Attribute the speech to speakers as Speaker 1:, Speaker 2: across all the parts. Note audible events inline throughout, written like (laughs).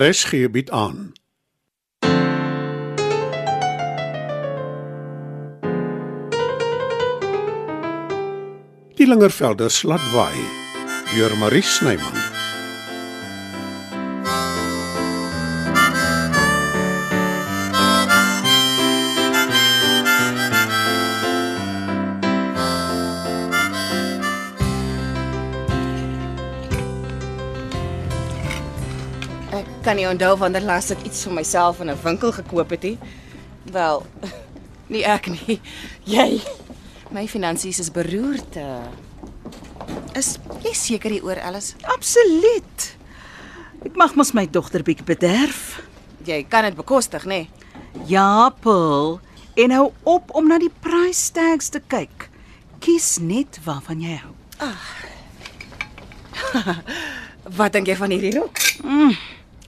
Speaker 1: RSG bied aan. Die Lingervelders laat waai deur Marie Snyman.
Speaker 2: Ek kan nie onthou wanneer laas ek iets vir myself in 'n winkel gekoop het nie. Wel, (laughs) nie ek nie. Jy. My finansies is beroerd. eh. Is jy seker hieroor, Alice?
Speaker 3: Absoluut. Ek mag mos my dogter bietjie bederf.
Speaker 2: Jy kan dit bekostig, nê? Nee?
Speaker 3: Ja, Paul, en hou op om na die price tags te kyk. Kies net waarvan jy hou.
Speaker 2: Wat dink jy van hierdie rok?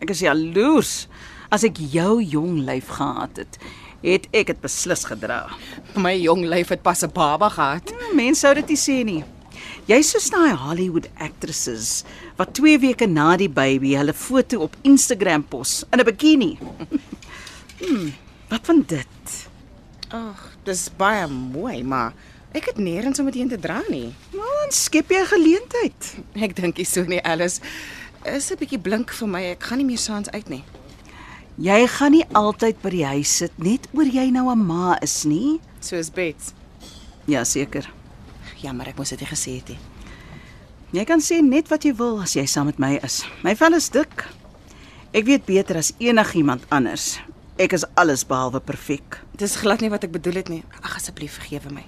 Speaker 3: Ek is jaloers. As ek jou jong lyf gehad het, het ek dit beslis gedra.
Speaker 2: My jong lyf het pas 'n baba gehad.
Speaker 3: Hm, Mense sou dit nie sê nie. Jy's soos daai Hollywood actresses wat 2 weke na die baby hulle foto op Instagram pos in 'n bikini. (laughs) Hm, wat van dit?
Speaker 2: Ag, dis baie mooi, maar ek het nêrens om dit heen te dra nie.
Speaker 3: Nou, dan skep jy 'n geleentheid.
Speaker 2: Ek dink nie so nie, Alice. Is 'n bietjie blink vir my. Ek gaan nie meer saans uit nie.
Speaker 3: Jy gaan nie altyd by die huis sit net oor jy nou 'n ma is nie.
Speaker 2: Soos Bets.
Speaker 3: Ja, seker.
Speaker 2: Jammer, ek moes dit nie gesê het nie.
Speaker 3: Jy kan sê net wat jy wil as jy saam met my is. My vel is dik. Ek weet beter as enigiemand anders. Ek is alles behalwe perfek.
Speaker 2: Dis glad nie wat ek bedoel het nie. Ag asseblief vergewe my.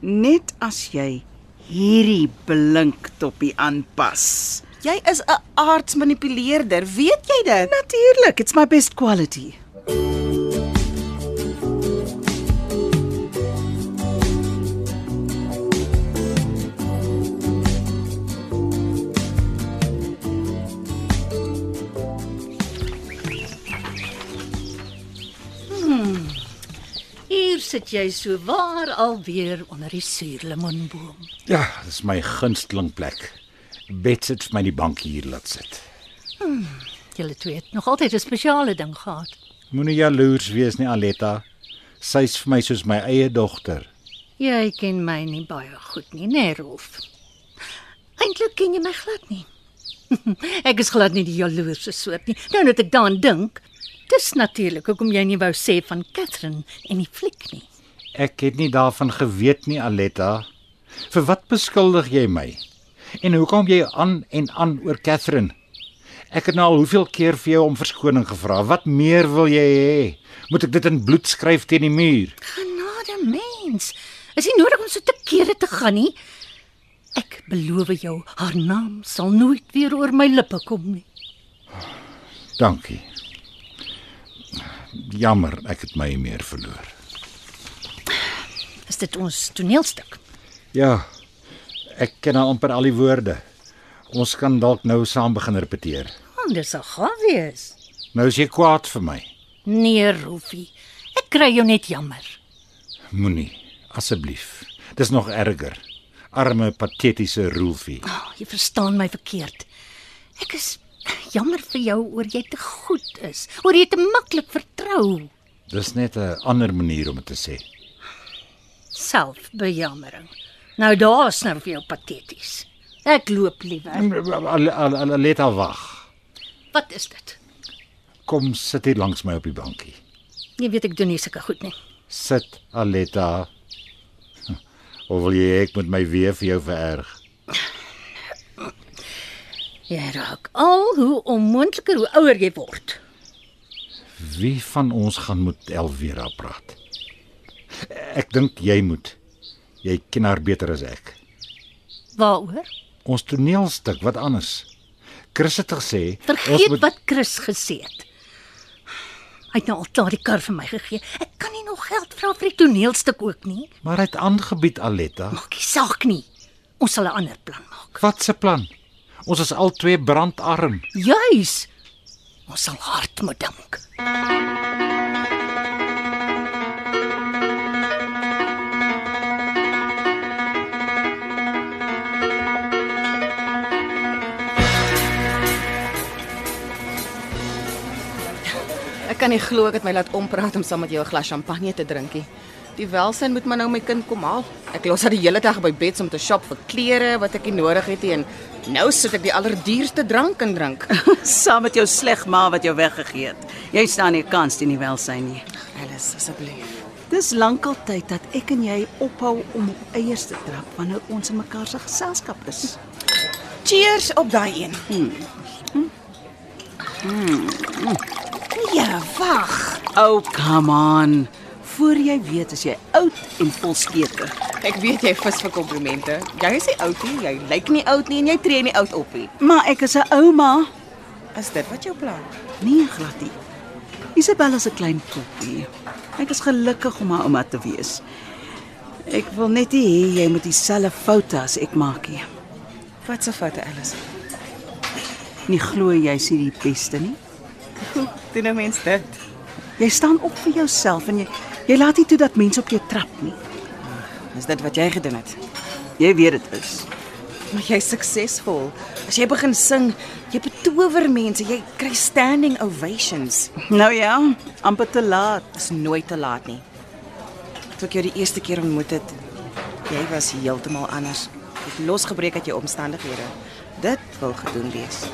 Speaker 3: Net as jy hierdie blink toppie aanpas.
Speaker 2: Jy is 'n aardsmanipuleerder, weet jy dit?
Speaker 3: Natuurlik, it's my best quality.
Speaker 4: Hier sit jy so waar alweer onder die suurlemoenboom.
Speaker 5: Ja, dis my gunsteling plek. Bets het vir my die bank hier laat sit.
Speaker 4: Julle twee het nog altyd 'n spesiale ding gehad.
Speaker 5: Moenie jaloers wees nie, Aletta. Sy's vir my soos my eie dogter.
Speaker 4: Jy ken my nie baie goed nie, né, Rolf? Eintlik ken jy my glad nie. (laughs) ek is glad nie die jaloerse soort nie. Nou net ek daaraan dink, dis natuurlik hoekom jy nie wou sê van Katherine en die fliek nie.
Speaker 5: Ek het nie daarvan geweet nie, Aletta. Vir wat beskuldig jy my? En hoekom jy aan en aan oor Catherine? Ek het nou al hoeveel keer vir jou om verskoning gevra. Wat meer wil jy hê? Moet ek dit in bloed skryf teen die muur?
Speaker 4: Genade mens, is nie nodig om so te kere te gaan nie. Ek beloof jou, haar naam sal nooit weer oor my lippe kom nie.
Speaker 5: Dankie. Jammer, ek het my meer verloor.
Speaker 4: Is dit ons toneelstuk?
Speaker 5: Ja. Ek ken nou amper al die woorde. Ons kan dalk nou saam begin repeteer.
Speaker 4: Want dit sal gaaf wees.
Speaker 5: Nou is jy kwaad vir my.
Speaker 4: Nee, Rolfie. Ek kry jou net jammer.
Speaker 5: Moenie, asseblief. Dis nog erger. Arme patetiese Rolfie.
Speaker 4: Oh, jy verstaan my verkeerd. Ek is jammer vir jou oor jy te goed is, oor jy te maklik vertrou.
Speaker 5: Dis net 'n ander manier om dit te sê.
Speaker 4: Selfbejammering. Nou daar's nou vir jou pateties. Ek loop liewer.
Speaker 5: Aleta wag.
Speaker 4: Wat is dit?
Speaker 5: Kom sit hier langs my op die bankie.
Speaker 4: Jy weet ek doen nie sulke goed nie.
Speaker 5: Sit, Aleta. Of wil jy hê ek moet my weer vir jou vererg?
Speaker 4: Jy raak al hoe onmoontliker hoe ouer jy word.
Speaker 5: Wie van ons gaan met Elvira praat? Ek dink jy moet. Jy ken haar beter as ek.
Speaker 4: Waaroor?
Speaker 5: Ons toneelstuk, wat anders? Chris het gesê,
Speaker 4: Vergeet moet... wat Chris gesê het. Hy het nou al klaar die kar vir my gegee. Ek kan nie nog geld vra vir die toneelstuk ook nie.
Speaker 5: maar hy het aangebied Aletta.
Speaker 4: Maak nie saak nie. Ons sal 'n ander plan maak.
Speaker 5: Wat se plan? Ons is al twee brandarm.
Speaker 4: Juis. Ons sal hard moet dink.
Speaker 2: Ek kan nie glo ek het my laat ompraat om saam met jou 'n glas champagne te drinkie. Die welsyn moet my nou my kind kom haal. Ek los haar die hele dag by Bets om te shop vir klere wat ek nie nodig het nie en nou sit ek die allerduurste drank en drink.
Speaker 3: (laughs) Saam met jou sleg ma wat jou weggegee het. Jy staan nie 'n kans teen die welsyn nie.
Speaker 2: (laughs) Alice, asseblief.
Speaker 3: Dis lankal tyd dat ek en jy ophou om op eiers te trap wanneer ons in mekaar se geselskap is.
Speaker 2: Cheers op daai een. Ja, wag.
Speaker 3: Oh, come on. Voor jy weet as jy oud en vol skete.
Speaker 2: Ek weet jy vis vir komplimente. Jy is nie oud nie, jy lyk nie oud nie en jy tree nie oud op nie.
Speaker 3: Maar ek is 'n ouma,
Speaker 2: Is dit wat jou plan?
Speaker 3: nie glad nie. Isabella is 'n klein poppie. Ek is gelukkig om haar ouma te wees. Ek wil net nie hê jy moet dieselfde foute as ek maak nie.
Speaker 2: Wat se foute, Alice?
Speaker 3: Nie glo jy sien die beste nie.
Speaker 2: Hoe doen 'n mens dit?
Speaker 3: Jy staan op vir jouself en jy jy laat nie toe dat mense op jou trap nie.
Speaker 2: Is dit wat jy gedoen het?
Speaker 3: Jy weet dit is.
Speaker 2: Maar jy's suksesvol. As jy begin sing, jy betower mense, jy kry standing ovations.
Speaker 3: Nou ja, amper te laat.
Speaker 2: Dit is nooit te laat nie. Toe ek jou die eerste keer ontmoet het, jy was heeltemal anders. Jy het losgebreek uit jou omstandighede. Dit wil gedoen wees.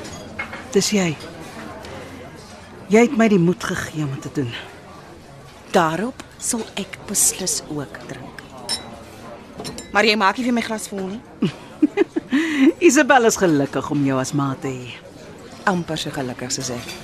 Speaker 3: Dis jy. Jy het my die moed gegee om dit te doen. (laughs)
Speaker 2: Daarop sal ek beslis ook drink. Maar jy maak nie vir my glas vol nie.
Speaker 3: Isabel is gelukkig om jou as ma te hê.
Speaker 2: Amper so gelukkig soos ek.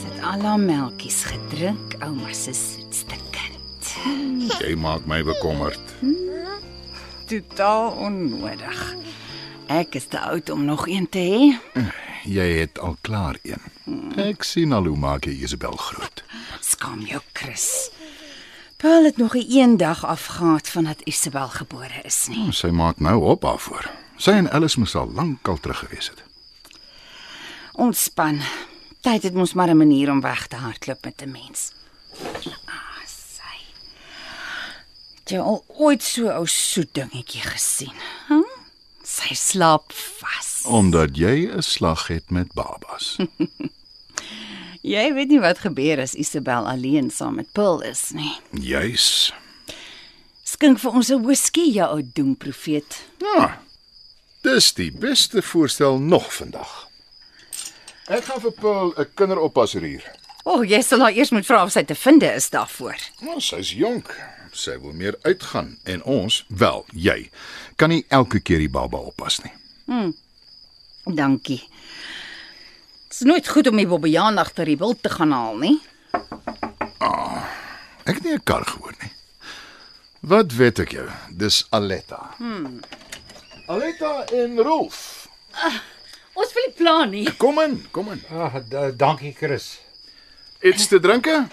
Speaker 6: Sit al haar melktjies gedrink, ouma se soetste kind.
Speaker 7: (laughs) Jy maak my bekommerd.
Speaker 6: Totaal onnodig. Ek is te oud om nog een te hê.
Speaker 7: Jy het al klaar een. Ek sien al hoe maak jy Isabel groot.
Speaker 6: Skaam jou, Chris. Paul het nog 'n eendag afgehaat vandat Isabel gebore is nie.
Speaker 7: Sy maak nou op daarvoor. Sy en Alice moes al lank al terug gewees het.
Speaker 6: Ontspan. Tyd het mos maar 'n manier om weg te hardloop met 'n mens. Ah, sy. Het Jy al ooit so 'n ou soet dingetjie gesien? Hm? Sy slaap vas.
Speaker 7: Omdat jy 'n slag het met babas.
Speaker 6: (laughs) Jy weet nie wat gebeur as Isabel alleen saam met Paul is nie.
Speaker 7: Juis.
Speaker 6: Skink vir ons 'n whisky, jou ou doemprofeet.
Speaker 7: Ja. Dis die beste voorstel nog vandag. Ek gaan vir Paul 'n kinderoppasser huur.
Speaker 6: O, oh, jy sal haar eers moet vra of sy te vind is daarvoor.
Speaker 7: Nou, sy's jonk. Sy wil meer uitgaan en ons, wel, jy kan nie elke keer die baba oppas nie.
Speaker 6: Dankie. Dit is nooit goed om die bobbejaan agter die wild te gaan haal nie.
Speaker 7: Ek het nie 'n kar gehoor nie. Wat weet ek jou? Dis Aletta. Hmm. Aletta en Rolf.
Speaker 4: Ons wil nie plan nie.
Speaker 7: Kom in, kom in.
Speaker 5: Ah, da- dankie Chris.
Speaker 7: Iets te drinke?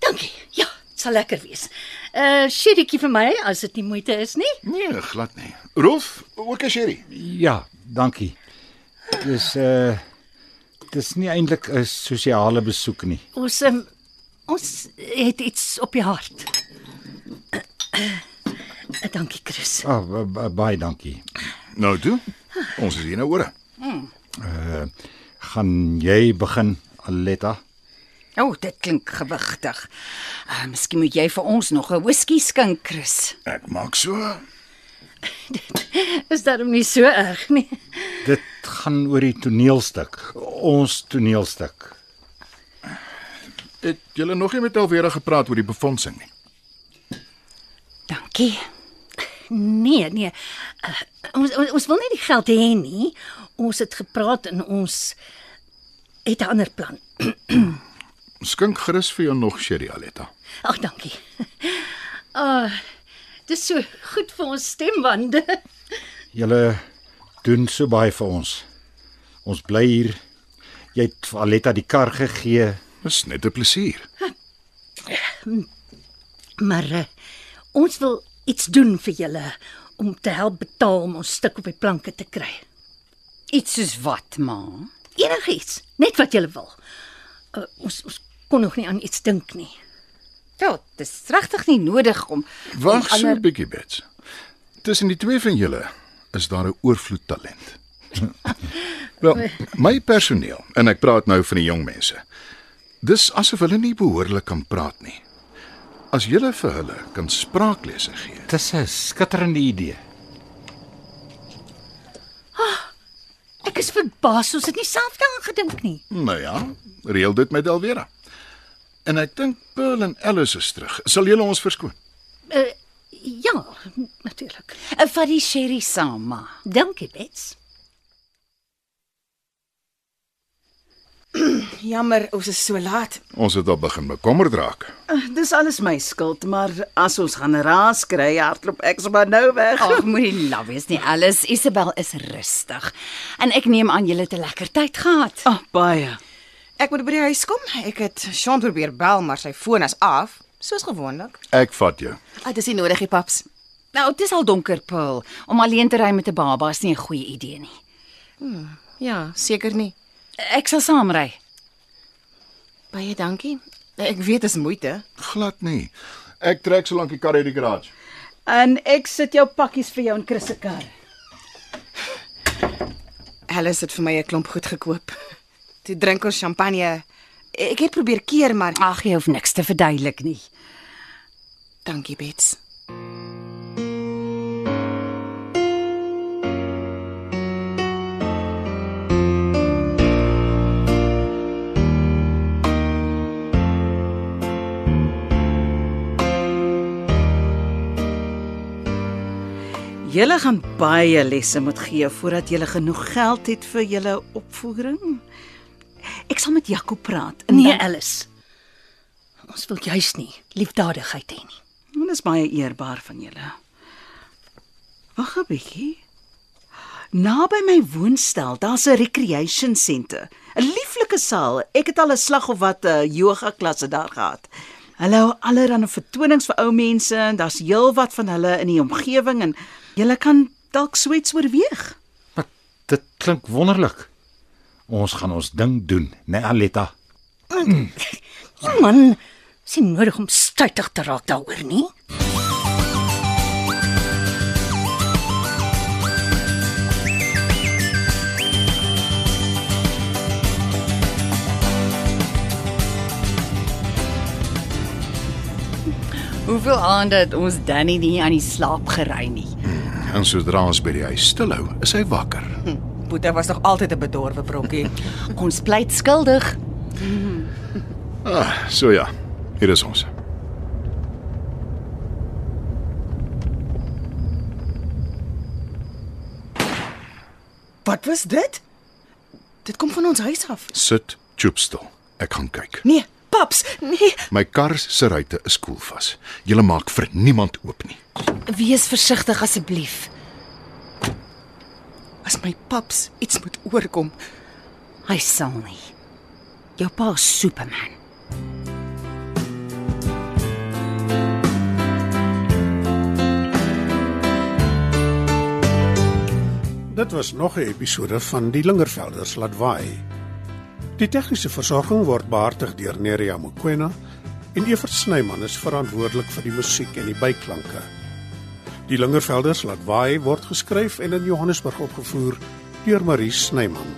Speaker 4: Dankie. Ja, dit sal lekker wees. 'n uh, Sherrytjie vir my as dit nie moeite is nie.
Speaker 7: Nee, glad nie. Rolf, ook 'n sherry.
Speaker 5: Ja, dankie. Dis eh uh, dis nie eintlik 'n sosiale besoek nie.
Speaker 4: Ons um, ons het iets op die hart. Uh, dankie Chris.
Speaker 5: Ah, ba- ba- baie dankie.
Speaker 7: Nou toe. Ons is hier nou ore.
Speaker 5: Gaan jy begin, Aletta?
Speaker 6: O, oh, dit klink gewigtig. Uh, miskien moet jy vir ons nog 'n whisky skink, Chris.
Speaker 7: Ek maak so.
Speaker 4: Is daarom nie so erg nie.
Speaker 5: Dit gaan oor die toneelstuk, ons toneelstuk.
Speaker 7: Het julle nog nie met Alvera gepraat oor die befondsing nie?
Speaker 6: Dankie.
Speaker 4: Nee, nee. Uh, ons, ons ons wil nie die geld hê nie. Ons het gepraat en ons het 'n ander plan.
Speaker 7: Skink gerus vir jou nog sherry, Aletta.
Speaker 4: Ag, dankie. (laughs) Ah, uh, dis so goed vir ons stemwande. (laughs)
Speaker 5: Julle doen so baie vir ons. Ons bly hier. Jy het vir Aletta die kar gegee.
Speaker 7: Dis net 'n plesier.
Speaker 4: Maar uh, ons wil iets doen vir julle om te help betaal om ons stuk op die planke te kry.
Speaker 6: Iets soos wat, ma?
Speaker 4: Enigiets, net wat jy wil. Uh, ons ons kon nog nie aan iets dink nie.
Speaker 6: Ja, dit is regtig nie nodig om
Speaker 7: Wag so 'n bietjie, Bets. Tussen die twee van julle is daar 'n oorvloed talent. Wel, my personeel en ek praat nou van die jong mense. Dis asof hulle nie behoorlik kan praat nie. As julle vir hulle kan spraaklesse gee.
Speaker 5: Dis 'n skitterende idee.
Speaker 4: Ek is verbaas ons het nie self daaraan gedink nie.
Speaker 7: Nou ja, reël dit met Alvera. En ek dink Pearl en Alice is terug. Sal julle ons verskoon?
Speaker 4: Uh, ja, natuurlik.
Speaker 6: Eh, vat die sherry saam, ma.
Speaker 4: Dankie, Bets.
Speaker 2: Jammer, ons is so laat.
Speaker 7: Ons het al begin bekommerd raak.
Speaker 3: Eh, Dis alles my skuld, maar as ons gaan raas kry, hardloop ek sommer nou weg.
Speaker 6: Ag, moenie laf wees nie. Alles Isabel is rustig. En ek neem aan julle het 'n lekker tyd gehad.
Speaker 3: Ag, baie.
Speaker 2: Ek moet by die huis kom. Ek het Sean probeer bel, maar sy foon is af, soos gewoonlik.
Speaker 7: Ek vat jou.
Speaker 2: Ah, dis nie nodig, die paps.
Speaker 6: Nou, dit is al donker, Paul. Om alleen te ry met 'n baba is nie 'n goeie idee nie.
Speaker 2: Ja, seker nie.
Speaker 6: Ek sal saamry.
Speaker 2: Baie dankie. Ek weet dis moeite.
Speaker 7: Glad nie. Ek trek solank die kar uit die garage.
Speaker 3: En ek sit jou pakkies vir jou in Chris se kar.
Speaker 2: Alice het vir my 'n klomp goed gekoop. (laughs) Toe drink ons champagne. Ek het probeer keer, maar
Speaker 6: Ag, jy hoef niks te verduidelik nie.
Speaker 2: dankie, Bets.
Speaker 3: Julle gaan baie lesse moet gee voordat julle genoeg geld het vir julle opvoering. Ek sal met Jaco praat. en
Speaker 4: Nee, Alice. Ons wil juis nie liefdadigheid hê nie.
Speaker 3: dan, dit is baie eerbaar van julle. Wag 'n bietjie. Naby my woonstel, daar's 'n recreation center. 'n Lieflike saal. Ek het al 'n slag of wat 'n yoga klasse daar gehad. Hulle hou allerlei vertonings vir ou mense en daar's heelwat van hulle in die omgewing en jy kan dalk swets oorweeg.
Speaker 5: Maar dit klink wonderlik. Ons gaan ons ding doen, né, Aletta?
Speaker 4: Ja, man, sien nodig om stuitig te raak daaroor nie.
Speaker 6: Hoeveel aande het ons Danny nie aan die slaap gery nie.
Speaker 7: En sodra ons by die huis stilhou, is hy wakker.
Speaker 2: Hm, Boeta was nog altyd 'n bedorwe brokkie.
Speaker 6: (laughs) Ons pleit skuldig.
Speaker 7: (laughs) Ah, so ja. Hier is ons.
Speaker 2: Wat was dit? Dit kom van ons huis af.
Speaker 7: Sit chupstil. Ek gaan kyk.
Speaker 2: Nee, paps, nee.
Speaker 7: My kar se ruitte is koel vas. Julle maak vir niemand oop nie.
Speaker 6: Wees versigtig asseblief.
Speaker 2: As my paps iets moet oorkom.
Speaker 6: Hy sal nie. Jou pa is Superman.
Speaker 1: Dit was nog 'n episode van Die Lingervelders laat waai. Die tegniese versorging word behartig deur Neriya Mukwena en Evert Snyman is verantwoordelik vir die musiek en die byklanke. Die Lingervelders laat waai word geskryf en in Johannesburg opgevoer deur Marie Snyman.